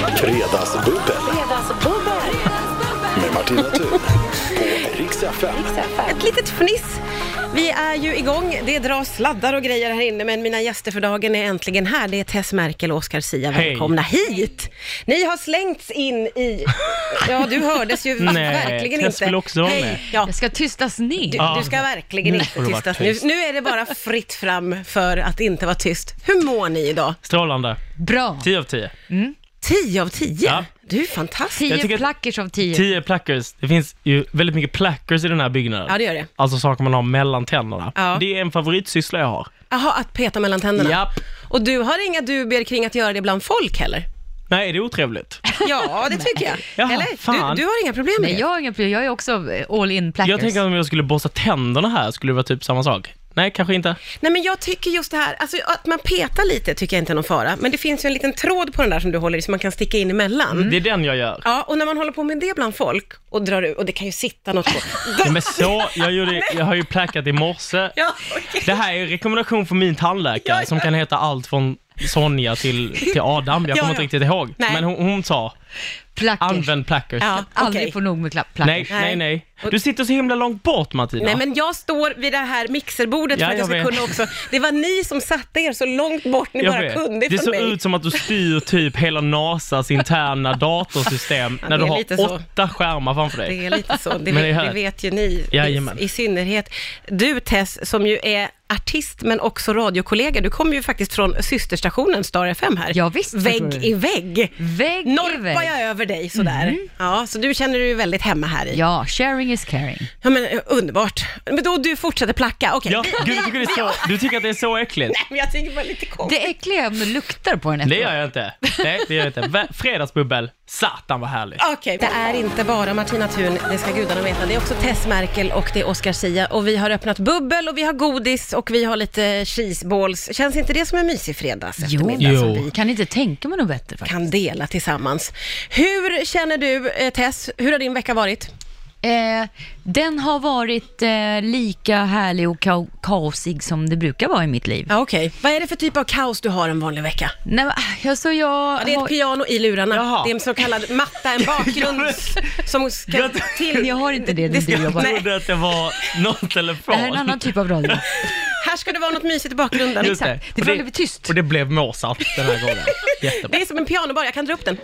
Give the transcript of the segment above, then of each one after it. Fredagsbubbel Fredagsbubbel! med Martina Thun på Rix FM. Ett litet fniss. Vi är ju igång. Det dras sladdar och grejer här inne, men mina gäster för dagen är äntligen här. Det är Tess Merkel och Oscar Sia. Hej. Välkomna hit! Ni har slängts in i... Ja, du hördes ju Nej, verkligen Tess inte. vill också vara Hej. med. Ja. Jag ska tystas ner. Du, du ska verkligen Nu inte får du vara tystas. Nu, tyst. nu är det bara fritt fram för att inte vara tyst. Hur mår ni idag? Strålande. Bra. 10 av 10. 10 av 10? Ja. Du är fantastisk. Jag Tio tycker att- plackers av tio. 10 plackers. Det finns ju väldigt mycket plackers i den här byggnaden. Ja, det gör det. Alltså saker man har mellan tänderna. Ja. Det är en favoritsyssla jag har. Jaha, att peta mellan tänderna. Japp. Och du har inga dubier kring att göra det bland folk heller? Nej, det är otrevligt. Ja, det tycker jag. Jaha, Eller? fan. Du, du har inga problem med Nej, det? jag, har inga problem. jag är också eh, all in plackers. Jag tänker att om jag skulle borsta tänderna här skulle det vara typ samma sak. Nej, kanske inte. Nej, men jag tycker just det här, alltså att man petar lite tycker jag inte är någon fara, men det finns ju en liten tråd på den där som du håller i som man kan sticka in emellan. Det är den jag gör. Ja, och när man håller på med det bland folk och drar ut, och det kan ju sitta något på. Ja, men så, jag, gjorde, jag har ju plackat i morse. Ja, okej. Det här är en rekommendation från min tandläkare Ja, ja. som kan heta allt från Sonja till, till Adam. Jag Ja, ja. kommer inte riktigt ihåg. Nej. Men hon, hon sa, plackers. använd plackers. Ja, Aldrig okej. får nog med klapp- plackers. Nej, nej, nej. Du sitter så himla långt bort Martina. Nej, men jag står vid det här mixerbordet Ja, för att jag jag ska vet. kunna också. Det var ni som satte er så långt bort ni Jag bara vet. kunde det från ser mig. ut som att du styr typ hela NASAs interna datorsystem Ja, när det du är har lite så. åtta skärmar framför dig. Det är lite så, det, Men det är vet, det härligt. vet ju ni Jajamän. i, i synnerhet. Du Tess, som ju är artist men också radiokollega, du kommer ju faktiskt från systerstationen Star FM här. Ja, visst, vad tror vägg du? i vägg. Vägg i Norpar vägg. Mm. jag över dig sådär. Ja, så du känner dig ju väldigt hemma här i. Ja, Ja, sharing is caring. men eh, underbart. Men då du fortsätter placka, okej. Ja, gud, du, tycker det är så, du tycker att det är så äckligt? Nej, men jag tycker bara lite konstigt. Det äckliga är om du luktar på den Det efteråt. gör jag inte. Nej, det gör jag inte. Va- Fredagsbubbel, satan vad härligt. Okej, det är inte bara Martina Thun, det ska gudarna veta. Det är också Tess Merkel och det är Oscar Sia. Och vi har öppnat bubbel och vi har godis och vi har lite cheeseballs. Känns inte det som en mysig fredags Jo, eftermiddag som Jo. vi kan inte tänka mig något bättre faktiskt. kan dela tillsammans? Hur känner du, eh, Tess? Hur har din vecka varit? Eh, den har varit eh, lika härlig och ka- kaosig som det brukar vara i mitt liv. Ja, okej. Vad är det för typ av kaos du har en vanlig vecka? Nej, men, alltså jag... Ja, det är har- ett piano i lurarna. Jaha. Det är en så kallad matta, en bakgrund som ska Jag tror- till. Jag har inte det när du ska- jobbar. Jag Nej, trodde att det var någon telefon. Det här är en annan typ av radio. här ska det vara något mysigt i bakgrunden. Just exakt. Det Och får bli tyst. Och det blev Mozart den här gången. Jättebra. Det är som en pianobar, jag kan dra upp den.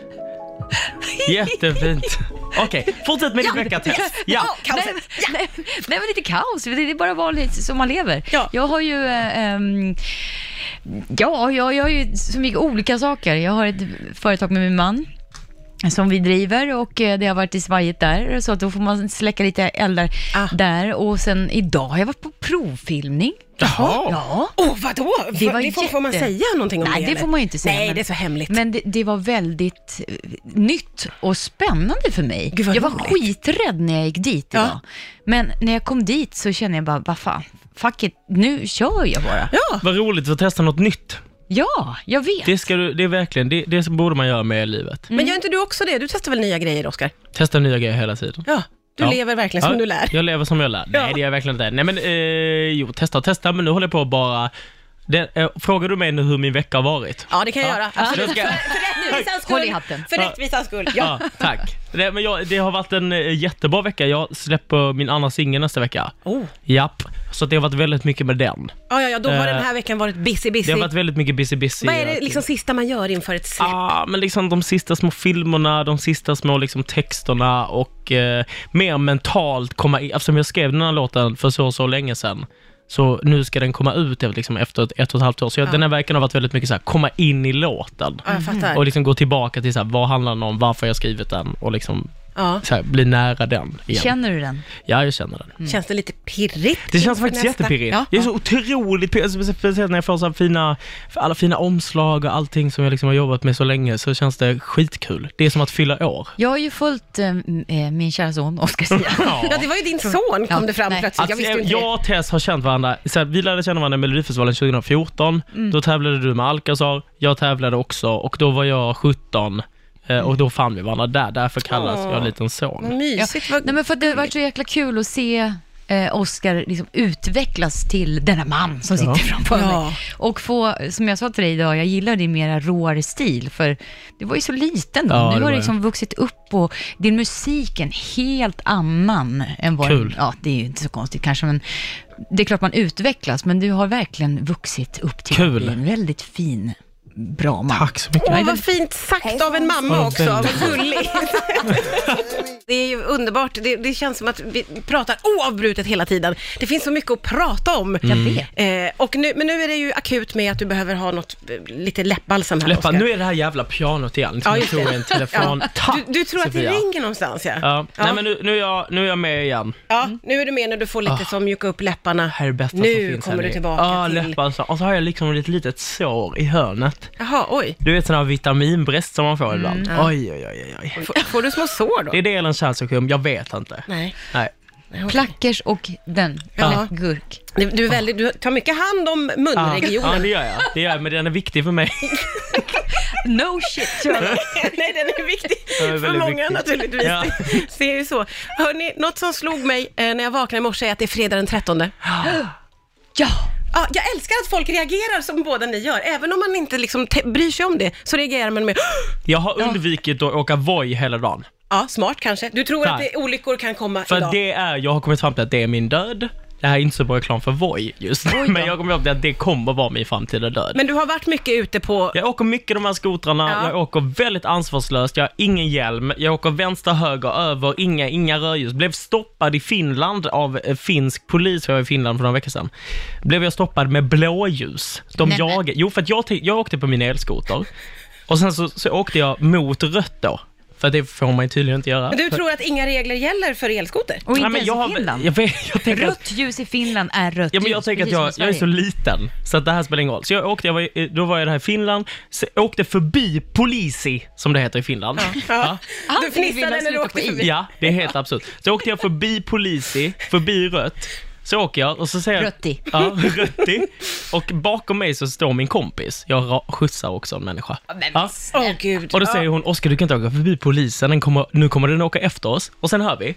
Jättefint. Okej, fortsätt med din vecka Tess. Ja. Kaoset. Nej, nej, men lite kaos. Det är bara vanligt som man lever. Ja. Jag har ju... Eh, ehm, ja, jag, jag har ju så mycket olika saker. Jag har ett företag med min man som vi driver och eh, det har varit i svajet där, så att då får man släcka lite eldar Ah. där. Och sen idag har jag varit på provfilmning. Jaha. Ja. Åh, oh, vadå? Det var får, får man jätte- säga någonting om det? Nej, det eller? får man ju inte säga. Nej, men- det är så hemligt. Men det, det var väldigt eh, nytt och spännande för mig. Gud, vad jag var roligt. skiträdd när jag gick dit Ja. idag. Men när jag kom dit så kände jag bara, vad fan, fuck it, nu kör jag bara. Ja, Vad roligt att testa något nytt. Ja, jag vet. Det, ska du, det är verkligen, det, det borde man göra med i livet. men gör inte du också det? Du testar väl nya grejer, Oskar? Testa nya grejer hela tiden. Ja, du Ja. lever verkligen som Ja, du lär. Jag lever som jag lär. Ja. Nej, det gör jag verkligen inte. Nej, men eh, jo, testa och testa, men nu håller jag på att bara... Det, eh, frågar du mig nu hur min vecka har varit? Ja, det kan jag göra. Absolut. Då ska jag- För rättvisans skull. Håll i hatten. För rättvisans skull, ja. Ja, tack. Nej, men jag, det har varit en eh, jättebra vecka. Jag släpper min andra singel nästa vecka. Oh. Japp. Så det har varit väldigt mycket med den. Ja, ja, ja, då har Eh, den här veckan varit busy, busy. Det har varit väldigt mycket busy busy. Vad är det liksom sista man gör inför ett släpp? Ah, men liksom de sista små filmerna, de sista små liksom texterna och eh, mer mentalt komma in. Eftersom jag skrev den här låten för så så länge sedan. Så nu ska den komma ut liksom efter ett, ett och ett halvt år. Så jag, den här veckan har varit väldigt mycket så här, komma in i låten. Ja, jag fattar. Och liksom gå tillbaka till så här, vad handlar den om, varför har jag skrivit den och liksom Ja. så här, bli nära den igen. Känner du den? ja, jag känner Mm. den. Känns det lite pirrigt? Det känns inför faktiskt nästa? jättepirrigt. Ja. Jag är så otroligt pirrig, alltså, speciellt när jag får så här fina, alla fina omslag och allting som jag liksom har jobbat med så länge så känns det skitkul. Det är som att fylla år. Jag har ju följt eh, m- eh, min kära son Oscar Zia. Ja, det var ju din son kom Ja, det fram nej. plötsligt. Jag Alltså, visste ju jag, inte det. jag och Tess har känt varandra, så här, vi lärde känna varandra i Melodifestivalen 2014, Mm. då tävlade du med Alcazar, jag tävlade också och då var jag 17 eh, och då fann vi varandra där, därför kallas Åh. Mm. jag en liten Vad son. Ja. mysigt. Vad... Nej, men för att det har varit så jäkla kul att se eh, eh, Oscar liksom utvecklas till denna man som sitter framför Ja. mig. Och få, som jag sa till dig idag, jag gillar din mera råare stil, för du var ju så liten då. Ja, det nu var har du jag. liksom vuxit upp och din musik är en helt annan än vad Kul. Ja, det är ju inte så konstigt kanske, men det är klart man utvecklas, men du har verkligen vuxit upp till Kul. att bli en väldigt fin, bra man. Tack så mycket. Åh, vad fint sagt av en mamma Ja, också. väldigt. Vad gulligt. Det är ju underbart. Det, det känns som att vi pratar oavbrutet hela tiden. Det finns så mycket att prata om. Jag vet. Eh, och nu, men nu är det ju akut med att du behöver ha något, eh, lite läppbalsam här, Läppar, Oscar. nu är det här jävla pianot igen. Ja, Ja, jag just tog det. en telefon. Tack, du, du tror att det Sofia. ringer någonstans, ja. Ja. Ja. Nej men nu, nu, är jag, nu är jag med igen. Ja, nu är du med när du får lite som mjuka upp läpparna. Här är det bästa som nu finns. kommer hörni. du tillbaka Ja, till... läppar och så. Och så har jag liksom ett litet sår i hörnet. Jaha, oj. Du vet sån här vitaminbrist som man Mm, får ibland. Oj, oj, oj, oj, oj. Får, får du små sår då? Det är det eller en kärlsjukdom? Jag vet inte. Nej. Nej. Plackers och den, Ja. ja. gurk. Du, du, är väldigt, du tar mycket hand om Ja, ja, munregionen. det gör jag. Det gör jag, men den är viktig för mig. No shit, Charlie. Nej, den är viktig Den är för väldigt många viktig. naturligtvis. Ja. Det är ju så. Hörni, något som slog mig eh, när jag vaknade i morse är att det är fredag den 13. Ja, Ja, jag älskar att folk reagerar som båda ni gör. Även om man inte liksom te- bryr sig om det, så reagerar man med Jag har undvikit att åka Voi hela dagen. Ja, smart kanske. Du tror att Nej. det, olyckor kan komma För idag. det är, jag har kommit fram till att det är min död. Det här är inte så bra reklam för Voi just nu, men jag har kommit fram till att det kommer vara min framtida död. Men du har varit mycket ute på... Jag åker mycket de här skotrarna, Ja. jag åker väldigt ansvarslöst, jag har ingen hjälm, jag åker vänster, höger, över, inga, inga rödljus. Blev stoppad i Finland av eh, finsk polis, jag var i Finland för några veckor sedan. Blev jag stoppad med blåljus. De Nej, men- jagade, jo för att jag, tänk- jag åkte på min elskoter och sen så, så åkte jag mot rött då. För det får man ju tydligen inte göra. Men du tror att inga regler gäller för elskoter? och Nej, inte men ens jag, har- i Finland. Jag, vet, jag tänker att Rött ljus i Finland är rött Ja, men jag ljus, tänker att precis jag, som i jag är så Sverige. liten, så att det här spelar ingen roll. Så jag åkte, jag var, i- då var jag här i Finland, så jag åkte förbi Polisi, som det heter i Finland. Ja. Du Allting i fnissade Finland när du slutar åkte på i. förbi. ja, det är helt absurt. Så åkte jag förbi Polisi, förbi Rött, så åker jag och så ser jag... Rötti. Ja, Rötti. Och bakom mig så står min kompis. Jag ra- skjutsar också en människa. Ja. Åh gud. Och då säger hon, Oskar du kan inte åka förbi polisen, den kommer, nu kommer den åka efter oss. Och sen hör vi...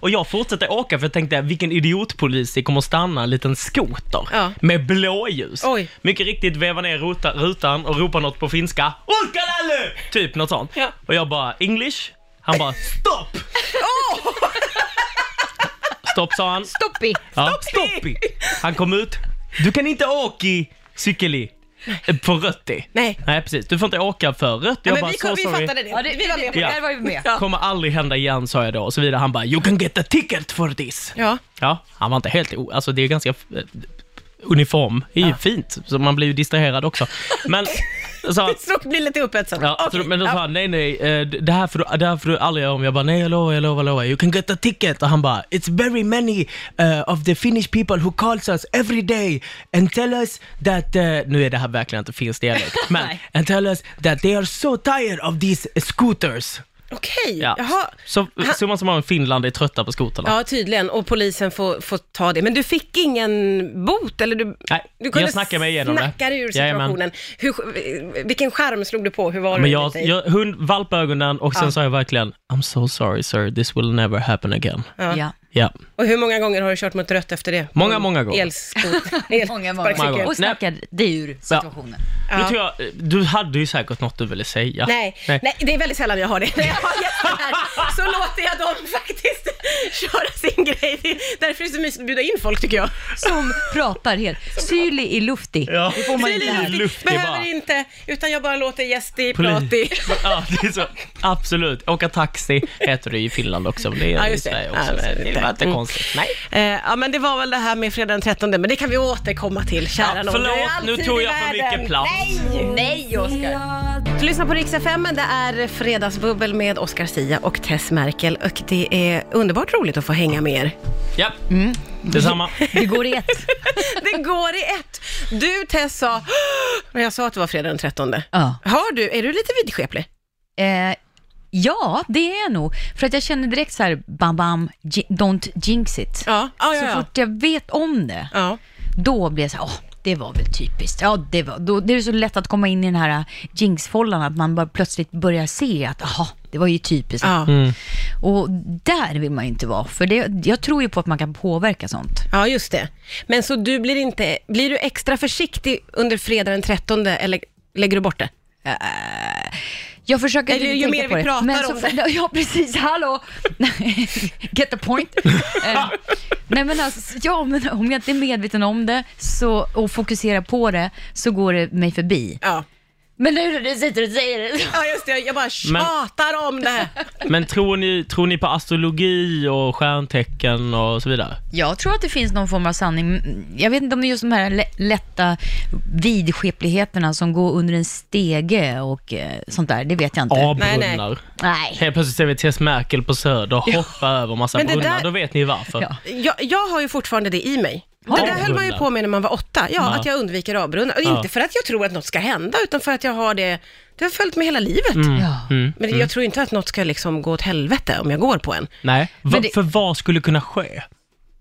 Och jag fortsätter åka för jag tänkte, vilken idiotpolis, det kommer stanna en liten skoter Ja. med blåljus. Oj. Mycket riktigt vevar ner ruta, rutan och ropar något på finska. Uskalalu! Typ något sånt. Ja. Och jag bara, English? Han bara, stopp! Stopp sa han. Stoppi. Ja, Stoppi! Han kom ut. Du kan inte åka i cykeli på rötti. Nej. Nej, precis. Du får inte åka för rött. Ja, Jag men bara, vi, så kom, vi sorry. fattade det. Ja, det, vi var med på Ja. det. Där var vi med. Kommer aldrig hända igen, sa jag då och så vidare. Han bara, you can get a ticket for this. Ja. Ja, han var inte helt... o- Alltså det är ganska... eh, Uniform är ju fint, så man blir ju distraherad också. Men... Så, Så blir lite upphetsad. Ja, Okej. så, men då sa Ja. han nej nej, eh, d- det här, får du, det här får du aldrig göra om. Jag bara nej, jag lovar, jag lovar, jag lovar. You can get a ticket. Och han bara, it's very many eh, of the Finnish people who calls us every day and tell us that, eh," nu är det här verkligen inte finsk dialekt, men Nej. and tell us that they are so tired of these scooters. Okej, Ja. jaha. Så summa summarum, Finland är trötta på skotrarna. Ja, tydligen. Och polisen får, får ta det. Men du fick ingen bot? Eller du, Nej, du jag snackade mig igenom det. snacka dig ur Jajamän. situationen. Hur, vilken skärm slog du på? Hur var Men du jag, enligt dig? jag hund, valpögonen och sen Ja. sa jag verkligen, I'm so sorry sir, this will never happen again. Ja. Ja. Och hur många gånger har du kört mot rött efter det? Många, många gånger. Elskoter. Många, många. Många gånger. Och snackade dig ur situationen. Nu tror jag, du hade ju säkert något du ville säga. Nej, nej. det är väldigt sällan jag har det. När jag har gäster här så låter jag dem faktiskt köra sin grej. Det är- Därför är det så mysigt att bjuda in folk tycker jag. Som pratar helt. Syrlig i luftig. Ja. Det får man inte här. Luftig Behöver bara. inte, utan jag bara låter gästi Poli- prati. ja, det är så. Absolut. Åka taxi heter det i Finland också, men det är Ja, i just det. Sverige Ja, också. så men det det är var inte mm. konstigt. Nej. Eh, ja men det var väl det här med fredag den 13, men det kan vi återkomma till kära Ja, nån. förlåt, Det är alltid nu tog i jag för världen. mycket plats. Nej! Nej, Oskar. Du lyssnar på Rix FM, det är Fredagsbubbel med Oscar Sia och Tess Merkel och det är underbart roligt att få hänga med er. Ja, Mm. detsamma. Det går i ett. Det går i ett. Du Tess sa, "Åh!" när jag sa att det var fredag den 13. Ja. Har du, är du lite vidskeplig? Eh, ja, det är jag nog. För att jag känner direkt så här, bam, bam, ji- don't jinx it. Ja, ja, ja. Så ja. fort jag vet om det, ja. då blir jag så här, åh, det var väl typiskt. Ja, det, var, då, det är så lätt att komma in i den här äh, jinx-fållan, att man bara plötsligt börjar se att, jaha, det var ju typiskt. Ja. Mm. Och där vill man ju inte vara, för det, jag tror ju på att man kan påverka sånt. ja, just det. Men så du blir inte, blir du extra försiktig under fredag den 13 eller lägger du bort det? Jag försöker Eller inte ju mer tänka på vi det. pratar men om så, det. Ja, precis. Hallå! Get the point. Eh, Nej, men alltså, ja, men om jag inte är medveten om det så, och fokuserar på det så går det mig förbi. Ja. Men nu när du sitter och säger det. så- Ja, just det. Jag bara tjatar om det. Men tror ni, tror ni på astrologi och stjärntecken och så vidare? Jag tror att det finns någon form av sanning. Mm, Jag vet inte om det är just de här lä- lätta vidskepligheterna som går under en stege och eh, sånt där. Det vet jag inte. A-brunnar. Nej, nej. Nej. Helt plötsligt ser vi Tess Merkel på Söder hoppa över massa Men det brunnar, där- då vet ni varför. Ja. Jag, jag har ju fortfarande det i mig. Har det du? där höll man ju på med när man var åtta, ja, Ja. att jag undviker avbrunnar. Och Ja. Inte för att jag tror att något ska hända, utan för att jag har det, det har följt med hela livet. Mm. Ja. Men jag tror inte att något ska liksom gå åt helvete om jag går på en. Nej, Va, Men det- för vad skulle kunna ske?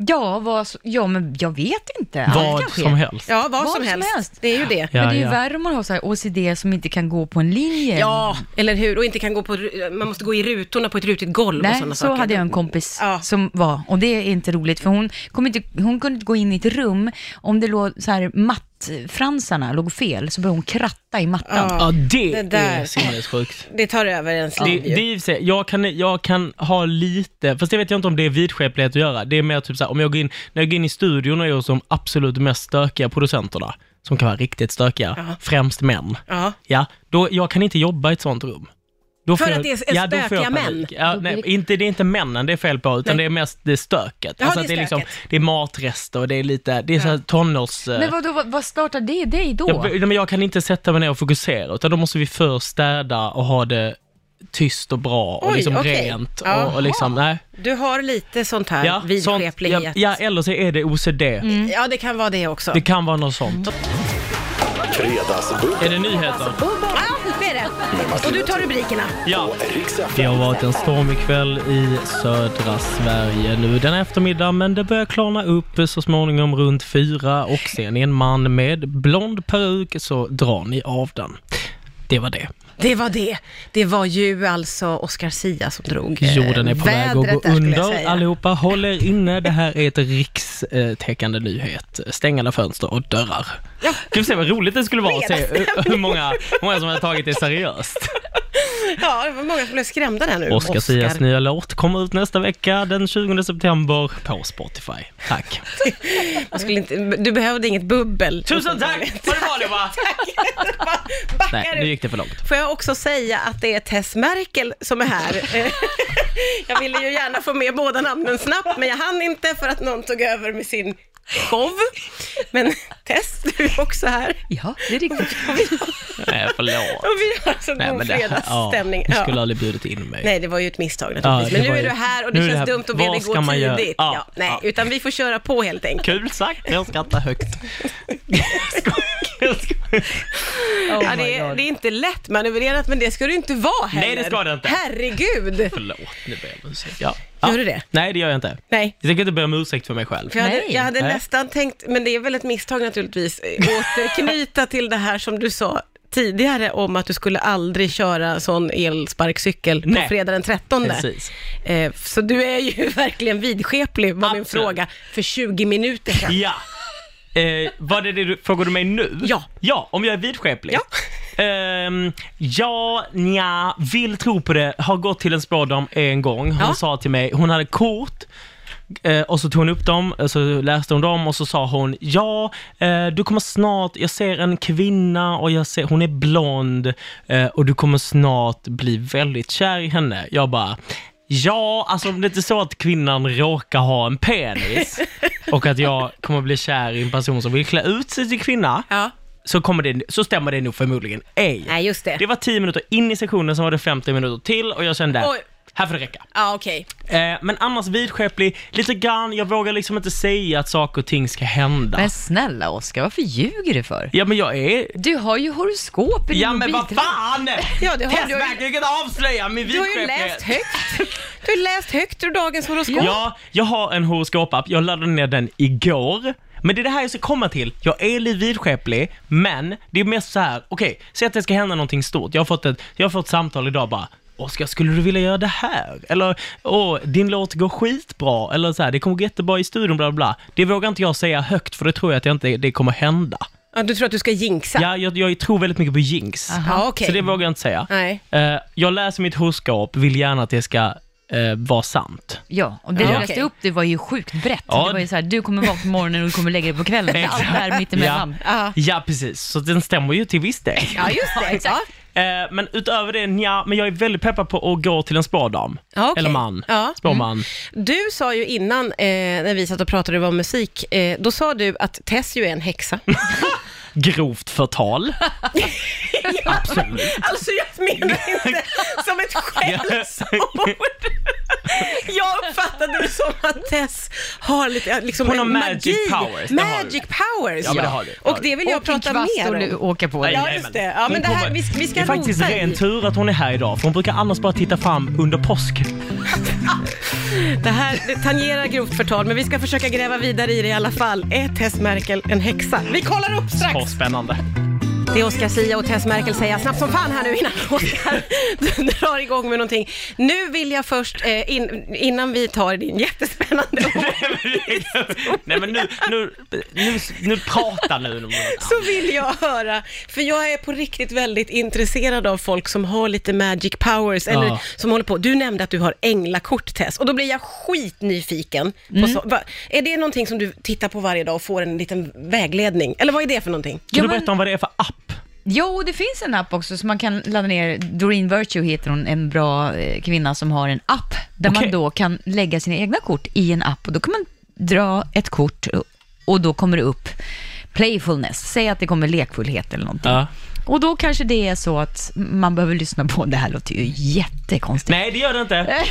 Ja, vad, så- ja, men jag vet inte. Allt vad kan ske. som helst. Ja, vad, som, helst. Det är ju det. Ja, men det är ju ja. värre om man har så här OCD som inte kan gå på en linje. Ja, eller hur? Och inte kan gå på, man måste gå i rutorna på ett rutigt golv och Nej, sådana så saker. hade jag en kompis Ja. som var, och det är inte roligt, för hon, kom inte, hon kunde inte gå in i ett rum om det låg så här, mattfransarna låg fel, så började hon kratta i mattan. Ja, det, Det där. är sinnessjukt. Det tar över ens Det, liv det är ju. i och för sig- jag, kan, jag kan ha lite, fast det vet jag inte om det är vidskeplighet att göra. Det är mer typ så här, om jag går in, när jag går in i studion och är hos de absolut mest stökiga producenterna, som kan vara riktigt stökiga, främst män. Ja. Ja, då, jag kan inte jobba i ett sånt rum. Då För får att det är- är jag, ja, då får jag stökiga män? panik. Ja, Då blir nej, det- inte, det är inte männen det är fel på, utan Nej. det är mest det är stöket. Jaha, det är att det, är liksom, stöket. det är matrester och det är lite, det är så här tonårs... eh, Men vadå, vad, vad startar det dig då? jag, nej, men jag kan inte sätta mig ner och fokusera, utan då måste vi först städa och ha det tyst och bra och Oj, liksom okej. rent. Jaha. Och, och liksom, nej. Du har lite sånt här sånt, vidskeplighet. Mm. ja, ja, eller så är det OCD. Ja, det kan vara det också. Det kan vara något sånt. Fredagsbubbel Är det nyheter? Ja, det är det. Och du tar rubrikerna. Ja. på Rix Det FM. har varit en stormig kväll i södra Sverige nu den här eftermiddagen, men det börjar klarna upp så småningom runt fyra och ser ni en man med blond peruk så drar ni av den. Det var det. Det var det. Det var ju alltså Oscar Sia som drog eh, Jorden är på väg att gå vädret där, skulle jag under. säga. Allihopa, håll er inne. Det här är ett rikstäckande nyhet. Stäng alla fönster och dörrar. Ja. Gud, se vad roligt det skulle vara att se hur- hur många, hur många som har tagit det seriöst. Ja, det var många som blev skrämda där nu. Oscar Sias nya låt kommer ut nästa vecka den 20 september på Spotify. Tack. Jag skulle inte, du behövde inget bubbel. Tusen tack! Ha det bra allihopa! Nej, Backar nu ut. gick det för långt. Får jag också säga att det är Tess Merkel som är här. Eh, jag ville ju gärna få med båda namnen snabbt, men jag hann inte för att någon tog över med sin show. Men Tess, du är också här. Ja, det är riktigt. Nej, förlåt. Och vi har så Nej, god det- fredagsstämning. Ja, du Ja. skulle aldrig bjudit in mig. Nej, det var ju ett misstag Ja, naturligtvis. det men nu var är ju- du här och nu det är det känns här- dumt att be vad dig ska gå man göra? tidigt. Ja, Ja, nej, ja. utan vi får köra på helt enkelt. Kul sagt, jag skrattar högt. ja, det, är, det är inte lätt manövrerat, men det ska du inte vara heller. Oh Nej, det ska det inte. Herregud! Förlåt, nu ber jag om ursäkt. Ja. Gör du det? Nej, det gör jag inte. Nej. Jag tänker inte be om ursäkt för mig själv. För jag hade, Nej. jag hade Nej. nästan tänkt, men det är väl ett misstag naturligtvis, eh, återknyta till det här som du sa tidigare om att du skulle aldrig köra sån elsparkcykel på Nej. fredag den 13. Precis. Eh, Så du är ju verkligen vidskeplig, var min Absolut. fråga, för 20 minuter sedan. Ja. Eh, vad är det du, frågar du mig nu? Ja. Ja, om jag är vidskeplig? Ja. Ehm, ja, nja, vill tro på det. Har gått till en spådam en gång. Hon Ja. sa till mig, hon hade kort eh, och så tog hon upp dem, eh, så läste hon dem och så sa hon ja, eh, du kommer snart, jag ser en kvinna och jag ser, hon är blond eh, och du kommer snart bli väldigt kär i henne. Jag bara Ja, alltså om det inte är så att kvinnan råkar ha en penis och att jag kommer bli kär i en person som vill klä ut sig till kvinna, Ja. så, kommer det, så stämmer det nog förmodligen ej. Nej, just det. Det var 10 minuter in i sessionen, sen var det 50 minuter till och jag kände, Oj. här får det räcka. Ja, okej. Eh, men annars vidskeplig, lite grann, jag vågar liksom inte säga att saker och ting ska hända. Men snälla Oskar, varför ljuger du för? Ja men jag är... Du har ju horoskop i din Ja men vad mobiltelefon. fan! Ja, det har Tess du ju- Merkel, du kan inte avslöja min Du har ju vidskeplighet! läst högt. Du har ju läst högt ur dagens horoskop. Ja, jag har en horoskopapp. Jag laddade ner den igår. Men det är det här jag ska komma till. Jag är lite vidskeplig, men det är mest så här. okej, säg att det ska hända någonting stort. Jag har fått ett, jag har fått ett samtal idag bara, Oskar, skulle du vilja göra det här? Eller, åh, din låt går skitbra. Eller så här, det kommer gå jättebra i studion, bla bla bla. Det vågar inte jag säga högt, för det tror jag att jag inte, det kommer hända. Ja, du tror att du ska jinxa? Ja, jag, jag tror väldigt mycket på jinx. Ja, okej. Så det vågar jag inte säga. Nej. Eh, jag läser mitt horoskop, vill gärna att det ska eh, vara sant. Ja, och det du Ja. läste Okej. upp det var ju sjukt brett. Ja. Det var ju så här, du kommer vara på morgonen och du kommer lägga dig på kvällen. Det är Allt det här mittemellan. Ja. ja, precis. Så den stämmer ju till viss del. Ja, just det. Ja, Eh, men utöver det, nja, men jag är väldigt peppad på att gå till en spådam. Ja, okej. Eller man. Ja. Mm. Spåman. Du sa ju innan, eh, när vi satt och pratade om musik, eh, då sa du att Tess ju är en häxa. Grovt förtal. Absolut. Alltså jag menar inte som ett skällsord. Jag uppfattade det som att Tess har lite liksom Hon har en magic magi. powers, det har Magic powers, Ja, men det har du. Och det vill jag Och en prata kvast och mer lu- om. åka på det. Ja, just det. Ja, Hon men det här- kommer- vi ska- vi ska det är faktiskt rota i. ren tur att hon är här idag, för hon brukar annars bara titta fram under påsk. Det här det tangerar grovt förtal, men vi ska försöka gräva vidare i det i alla fall. Är Tess Merkel en häxa? Vi kollar upp Så strax. spännande. Det är Oscar Sia och Tess Merkel säger snabbt som fan här nu innan Oscar drar igång med någonting. Nu vill jag först, eh, in, innan vi tar din jättespännande Nej men nu, nu, nu, nu prata nu. om något. så vill jag höra, för jag är på riktigt väldigt intresserad av folk som har lite magic powers, eller Ja. som håller på. Du nämnde att du har änglakort, Tess, och då blir jag skitnyfiken. På så, va, är det någonting som du tittar på varje dag och får en liten vägledning? Eller vad är det för någonting? Kan Ja, du men- berätta om vad det är för app? Jo, det finns en app också som man kan ladda ner. Doreen Virtue heter hon, en bra eh, kvinna som har en app där Okej. man då kan lägga sina egna kort i en app och då kan man dra ett kort och- och då kommer det upp playfulness. Säg att det kommer lekfullhet eller någonting. Ja. Och då kanske det är så att man behöver lyssna på, det här låter ju jättekonstigt. Nej det gör det inte.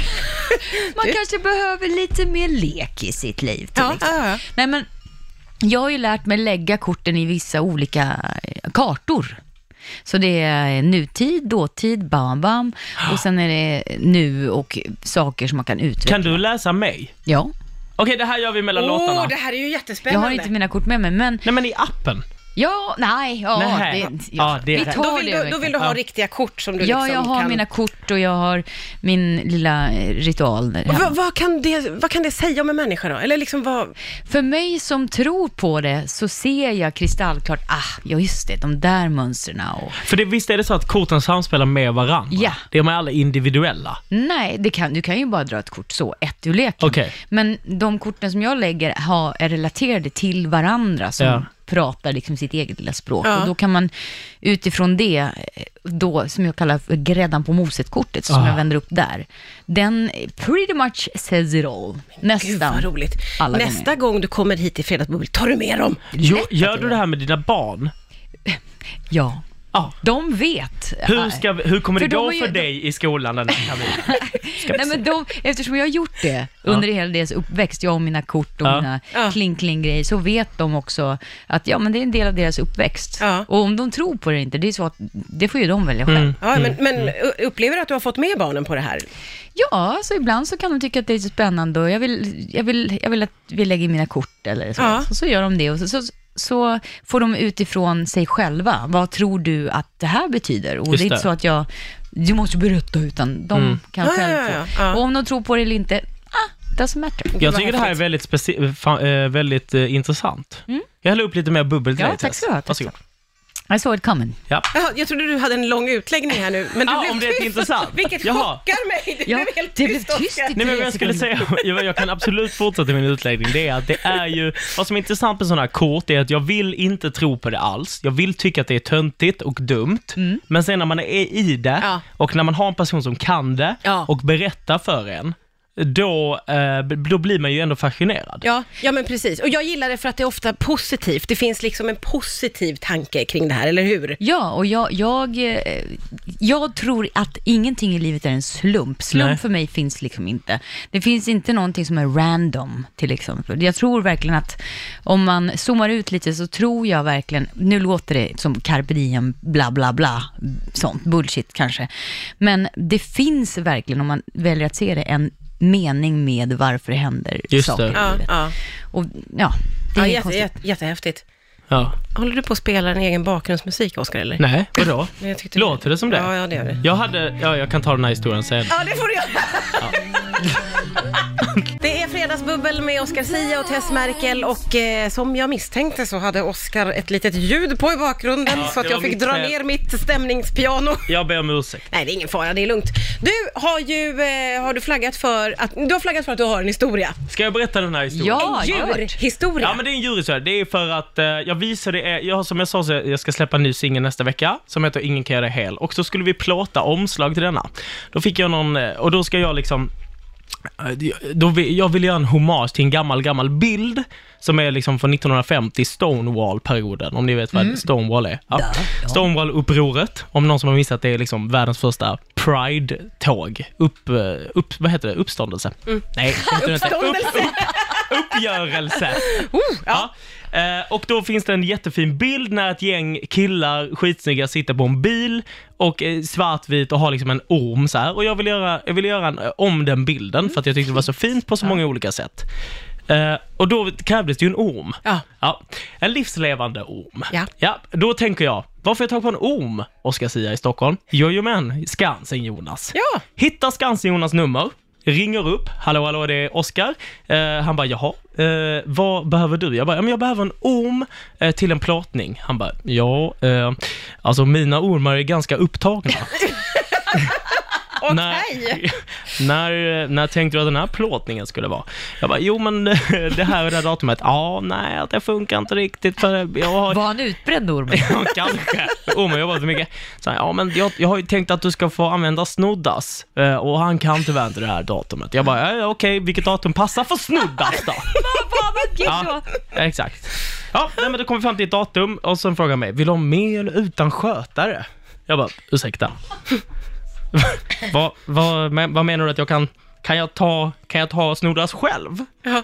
Man kanske behöver lite mer lek i sitt liv. Till Ja, exempel. ja, ja. Nej, men jag har ju lärt mig lägga korten i vissa olika eh, kartor. Så det är nutid, dåtid, bam, bam. Och sen är det nu och saker som man kan utveckla. Kan du läsa mig? Ja. Okej det här gör vi mellan Åh, låtarna. det här är ju jättespännande. Jag har inte mina kort med mig, men Nej men i appen. ja, nej, ja, Nej. det, Ja, det är vi rätt. tar då vill, det. du, då verkligen. vill du ha Ja. riktiga kort som du ja, liksom jag har kan... mina kort och jag har min lilla eh, ritual där Och hemma. Vad, vad, kan det, vad kan det säga om en människa då? Eller liksom vad... För mig som tror på det så ser jag kristallklart, ah, ja just det, de där mönstren ah, och... För det, visst är det så att korten samspelar med varandra? Ja. Det är med alla individuella. Nej, det kan, du kan ju bara dra ett kort så, ett ur leken. Okej. Men de korten som jag lägger har, är relaterade till varandra som Ja. pratar liksom sitt eget lilla språk. Ja. Och då kan man utifrån det, eh, då, som jag kallar för gräddan på moset-kortet, som Ah. jag vänder upp där, den pretty much says it all. Nästan. Gud vad roligt. alla Nästa gånger. gång du kommer hit i Fredagsbubbel, tar du med dem? Jo, gör du det här med dina barn? Ja. Ja. De vet. Hur, ska, vi- hur kommer För det de gå har ju- för dig i skolan den här terminen? Nej, men de, eftersom jag har gjort det under hela deras uppväxt, jag och mina kort och Ja. mina Ja. kling-kling-grejer, så vet de också att ja, men det är en del av deras uppväxt. Ja. Och om de tror på det eller inte, det är så att det får ju de välja själv. Mm. Ja, men, men Mm. u- upplever du att du har fått med barnen på det här? Ja, så ibland så kan de tycka att det är så spännande och jag vill, jag vill, jag vill att vi lägger in mina kort eller så. Ja. Så, så gör de det och så, så, så får de utifrån sig själva, vad tror du att det här betyder? Och Just det är inte det. Mm. så att jag, du måste berätta, utan de kan Ja, själva ja, ja, få. ja. Och om de tror på det eller inte, ah, doesn't matter. Jag Vad tycker det här är häftigt. väldigt, speci- fa- eh, väldigt eh, intressant. Jag häller upp lite mer bubbel till Mm. Ja, dig, tack Tess. ska du ha, tack Varsågod. I saw it coming. Ja. Jaha, jag trodde du hade en lång utläggning här nu, men du Ja, blev om det är tyst. intressant. Vilket Jaha. chockar mig! Du Ja, blev helt det blev tyst, tyst i Oscar. Nej men vad jag skulle säga, jag, jag kan absolut fortsätta min utläggning, det är att det är ju, vad som är intressant med sådana här kort är att jag vill inte tro på det alls, jag vill tycka att det är töntigt och dumt, men sen när man är i det Mm. Ja. och när man har en person som kan det Ja. och berättar för en, då, eh, b- då blir man ju ändå fascinerad. Ja, ja, men precis. Och jag gillar det för att det är ofta positivt. Det finns liksom en positiv tanke kring det här, eller hur? Ja, och jag, jag, eh, jag tror att ingenting i livet är en slump. Slump Nej. för mig finns liksom inte. Det finns inte någonting som är random, till exempel. Jag tror verkligen att om man zoomar ut lite så tror jag verkligen, nu låter det som carpe diem, bla bla bla, sånt, bullshit kanske. Men det finns verkligen, om man väljer att se det, en mening med varför det händer Just saker det. i Ja, livet. ja. Och, ja, det är ja inget jätte, konstigt. jätte, jättehäftigt. Ja. Håller du på att spela din egen bakgrundsmusik, Oskar, eller? Nej, vadå? Men jag tyckte Låter det som det? Ja, ja, det gör det. Jag hade, ja jag kan ta den här historien sen. Ja, det får du göra. det är Fredagsbubbel med Oskar Sia och Tess Merkel och eh, som jag misstänkte så hade Oskar ett litet ljud på i bakgrunden Ja, så att det jag var fick mitt dra fel. ner mitt stämningspiano. Jag ber om ursäkt. Nej, det är ingen fara, det är lugnt. Du har ju eh, har du flaggat för att du har flaggat för att du har en historia. Ska jag berätta den här historien? Ja, gör. Djurhistoria. Ja men det är en djurhistoria. Det är för att eh, jag visade, eh, jag, har- som jag sa så jag ska släppa en ny singel nästa vecka som heter Ingen kan göra dig hel och så skulle vi plåta omslag till denna. Då fick jag någon, eh, och då ska jag liksom eh, då vill, jag vill göra en hommage till en gammal, gammal bild som är liksom från 1950, Stonewall-perioden, om ni vet vad Stonewall är. Mm. Ja. Stonewall-upproret, om någon som har missat det, är liksom världens första Pride-tåg. Upp, eh, upp, vad heter det? Uppståndelse? Nej, det heter det inte. Uppståndelse. Uppgörelse. Oh, ja. Eh, och då finns det en jättefin bild när ett gäng killar, skitsnygga, sitter på en bil och eh, svartvit och har liksom en orm så här. Och jag vill göra, jag vill göra en, eh, om den bilden för att jag tyckte det var så fint på så många olika sätt. Eh, och då krävdes det ju en orm. Ja. En livslevande orm. Ja. Då tänker jag, varför jag tag på en orm, Oscar Sia i Stockholm? Jojomen, Skansen-Jonas. Ja. Hittar Skansen-Jonas nummer, ringer upp, hallå hallå det är Oskar. Eh, han bara, jaha, eh, vad behöver du? Jag bara, ja, men jag behöver en orm eh, till en plåtning. Han bara, ja, eh, alltså mina ormar är ganska upptagna. Okej. När, när, när tänkte du att den här plåtningen skulle vara? Jag bara, jo men eh, det här och det här datumet. Ja, nej, det funkar inte riktigt för jag har Var han utbränd ormen? Ja, kanske. Om jag jobbat så mycket. Så här, ja, men jag, jag har ju tänkt att du ska få använda Snoddas eh, och han kan tyvärr inte det här datumet. Jag bara, ja, okej, vilket datum passar för Snoddas då? Ja, exakt. Ja, nej, men då kom vi fram till ett datum och sen frågade han mig, vill du ha med eller utan skötare? Jag bara, ursäkta. vad, vad, men, vad menar du att jag kan, kan jag ta, kan jag ta Snoddas själv? Ja.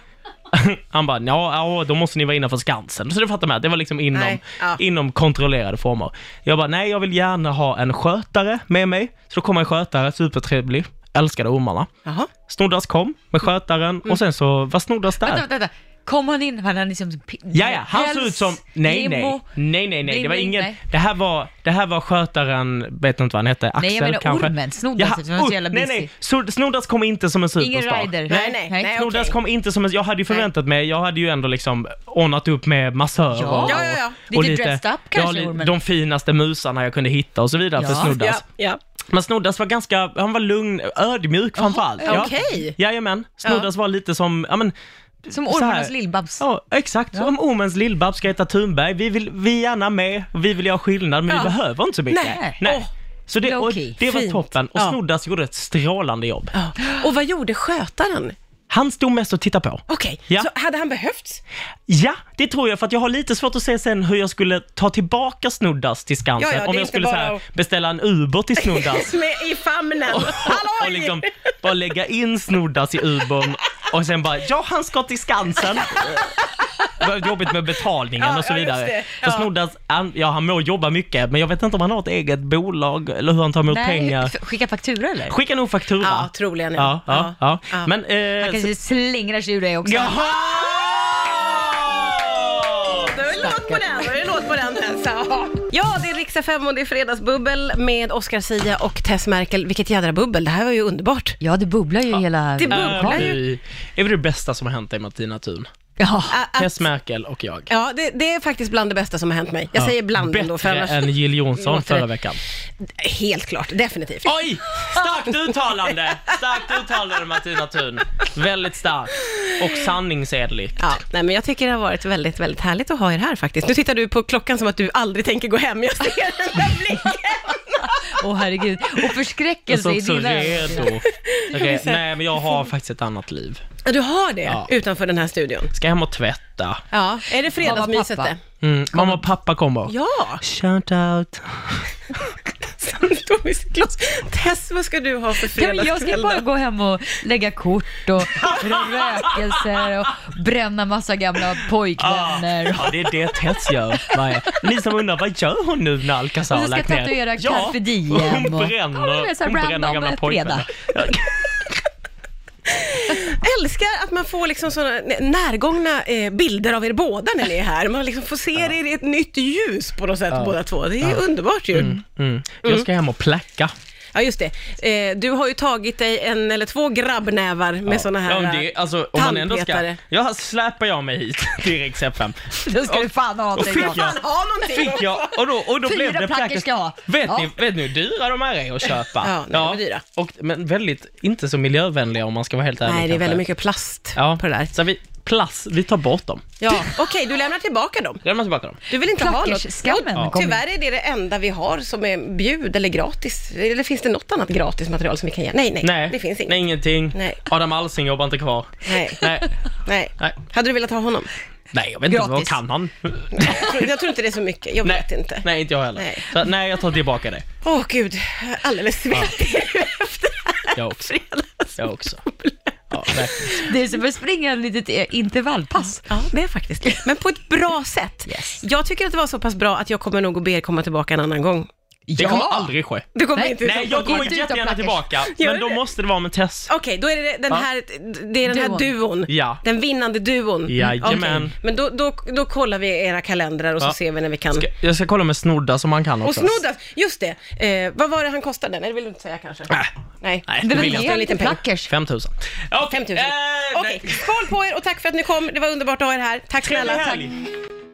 Han bara, ja, ja, då måste ni vara innanför Skansen. Så du fattar med, det var liksom inom, Nej, ja. inom kontrollerade former. Jag bara, nej, jag vill gärna ha en skötare med mig. Så då kom en skötare, supertrevlig, älskade ormarna. Jaha. Snoddas kom med skötaren och sen så var Snoddas där. Vänta, vänta. Kom han in? Han är liksom... pi- Ja, ja, han såg päls, ut som... Nej, nej, limo. nej, nej, nej, det var Bling, ingen... nej. Det här var, det här var skötaren, vet inte vad han hette, Axel Nej, jag menar kanske? ormen. Snoddas, Jaha, eftersom han var or- så jävla Nej, busy. nej, Sor- Snoddas kom inte som en Ingen superstar. rider. Nej, nej, nej. Snoddas okej. kom inte som en, jag hade ju förväntat mig, jag hade ju ändå liksom ordnat upp med massörer Ja. och, Ja, ja, ja. och Lite dressed up kanske, ja, li- ormen. de finaste musarna jag kunde hitta och så vidare för Ja. Snoddas. Ja, ja. Men Snoddas var ganska, han var lugn, ödmjuk framförallt. Ja. okej. Jajamän, Snoddas var lite som, ja men Som så här. ormarnas lillbabs. Ja, exakt. Som ormens lillbabs Greta Thunberg. Vi, vill, vi är gärna med, och vi vill göra skillnad, men vi behöver inte så mycket. Nej. Nej. Åh, så det, och low-key. det var Fint. toppen. Och Ja. Snoddas gjorde ett strålande jobb. Ja. Och vad gjorde skötaren? Han stod mest och tittade på. Okej, Ja. så hade han behövts? Ja, det tror jag, för att jag har lite svårt att se sen hur jag skulle ta tillbaka Snoddas till Skansen. Ja, ja, det om är jag inte skulle bara så här, att- beställa en Uber till Snoddas Med i famnen. och Halloj! liksom bara lägga in Snoddas i Ubern och sen bara, ja han ska till Skansen. Det var jobbigt med betalningen Ja, och så ja, just vidare. det. För Ja. Snoddas, han, ja han må jobba mycket, men jag vet inte om han har ett eget bolag eller hur han tar emot pengar. f- skicka faktura eller? Skicka nog faktura. Ja, troligen. ja, ja, ja. Ja. Men... Han Eh, så, kanske slingrar sig ur dig också. jaha! Då är det låt på den, då är det låt på den. Tess. Ja. Ja, det är Riksa 5 och det är Fredagsbubbel med Oscar Sia och Tess Merkel. Vilket jädra bubbel, det här var ju underbart. Ja, det bubblar ju hela... Det Äh, bubblar ju. vi- är väl det bästa som har hänt dig Martina Thun? Ja. Ä- ä- Tess Merkel och jag. Ja, det, det är faktiskt bland det bästa som har hänt mig. Jag säger bland ändå, för Bättre annars... än Jill Johnson Låter det- förra veckan. Helt klart, definitivt. Oj! Starkt uttalande! Starkt uttalande Martina Thun. Väldigt starkt. Och sanningsenlig. Ja, nej, men jag tycker det har varit väldigt, väldigt härligt att ha er här faktiskt. Nu tittar du på klockan som att du aldrig tänker gå hem. Jag ser den där blicken. Åh herregud. Och Jag Alltså, förskräckelse såg i så dina Alltså, redo. Re- se. Nej men jag har faktiskt ett annat liv. Du har det Ja. utanför den här studion. Ska hem och tvätta. Ja, är det fredagsmyset Mamma, det? pappa. Mm. Mamma och pappa kommer. Ja, Shout out. Tommy Cyklos. Tess, vad ska du ha för Ja, men jag ska bara fredagskvällen? gå hem och lägga kort och rökelser och bränna massa gamla pojkvänner. Ja, det är det Tess gör. Varje- Ni som undrar, vad gör hon nu när Alcazar Och så har ska lagt ner? tatuera carpe diem hon och- bränner, Ja, men det är så här hon bränner random gamla fredag. pojkvänner. Ja, älskar att man får liksom såna närgångna eh, bilder av er båda när ni är här. Man liksom får se er i ett nytt ljus på något sätt båda två. Det är underbart ju. Mm. Jag ska hem och pläcka. Ja, just det. Eh, du har ju tagit dig en eller två grabbnävar med Ja. såna Ja, här men det, alltså, om man ändå ska... tandpetare. Ja, släpar jag mig hit till Rix FM. Då ska du fan ha Och dig fick något. jag- Fan, ha någonting! Fick jag, och då, och då Fyra blev det plackor praktiskt. ska jag ha. Vet, Ja. ni, vet ni hur dyra de här är att köpa? Ja, nej, de är dyra. Och, men väldigt, inte så miljövänliga om man ska vara helt ärlig. Nej, det är kanske. väldigt mycket plast ja. på det där. Så vi, plast, vi tar bort dem. Ja, okej, du lämnar tillbaka dem. Lämna tillbaka dem. Du vill inte ha något. Plackerskammen Jo, kom in. Tyvärr är det det enda vi har som är bjud eller gratis. Eller finns det något annat gratis material som vi kan ge? Nej, nej, Nej, det finns inget. Nej, Nej. ingenting. Nej. Adam Alsing jobbar inte kvar. Nej. Nej, nej. Nej. Hade du velat ha honom? nej jag vet inte, vad Gratis. kan han? Jag tror, jag tror inte det är så mycket, jag Nej, vet inte. nej, inte jag heller. Nej. Så, nej, jag tar tillbaka det. Åh gud, jag är alldeles svettig. Jag också. Jag också. Ja, nej. Det är som att springa ett litet eh, intervallpass. Ja, det är faktiskt det. Men på ett bra sätt. Yes. Jag tycker att det var så pass bra att jag kommer nog att be er komma tillbaka en annan gång. Det kommer aldrig ske. Du kommer Nej. inte Nej, jag kommer Inte utan jättegärna plackers. tillbaka, Gör men då det? måste det vara med Tess. Okej, då är det den Ja. här, det är den här Duon. duon. Ja. Den vinnande duon. Jajamän. Okej. Men då, då, då kollar vi era kalendrar och så Ja. ser vi när vi kan. Ska, jag ska kolla med Snodda som han kan Och också. Snoddas, just det. Eh, vad var det han kostade? Nej, det vill du inte säga kanske. Nej, Nej. nej, Det det var vill jag inte. en liten liten peng. plackers. 5 000. Ja, 5 000. eh, nej. Okej, skål på er och tack för att ni kom. Det var underbart att ha er här. Tack Trevlig snälla. Tack. helg!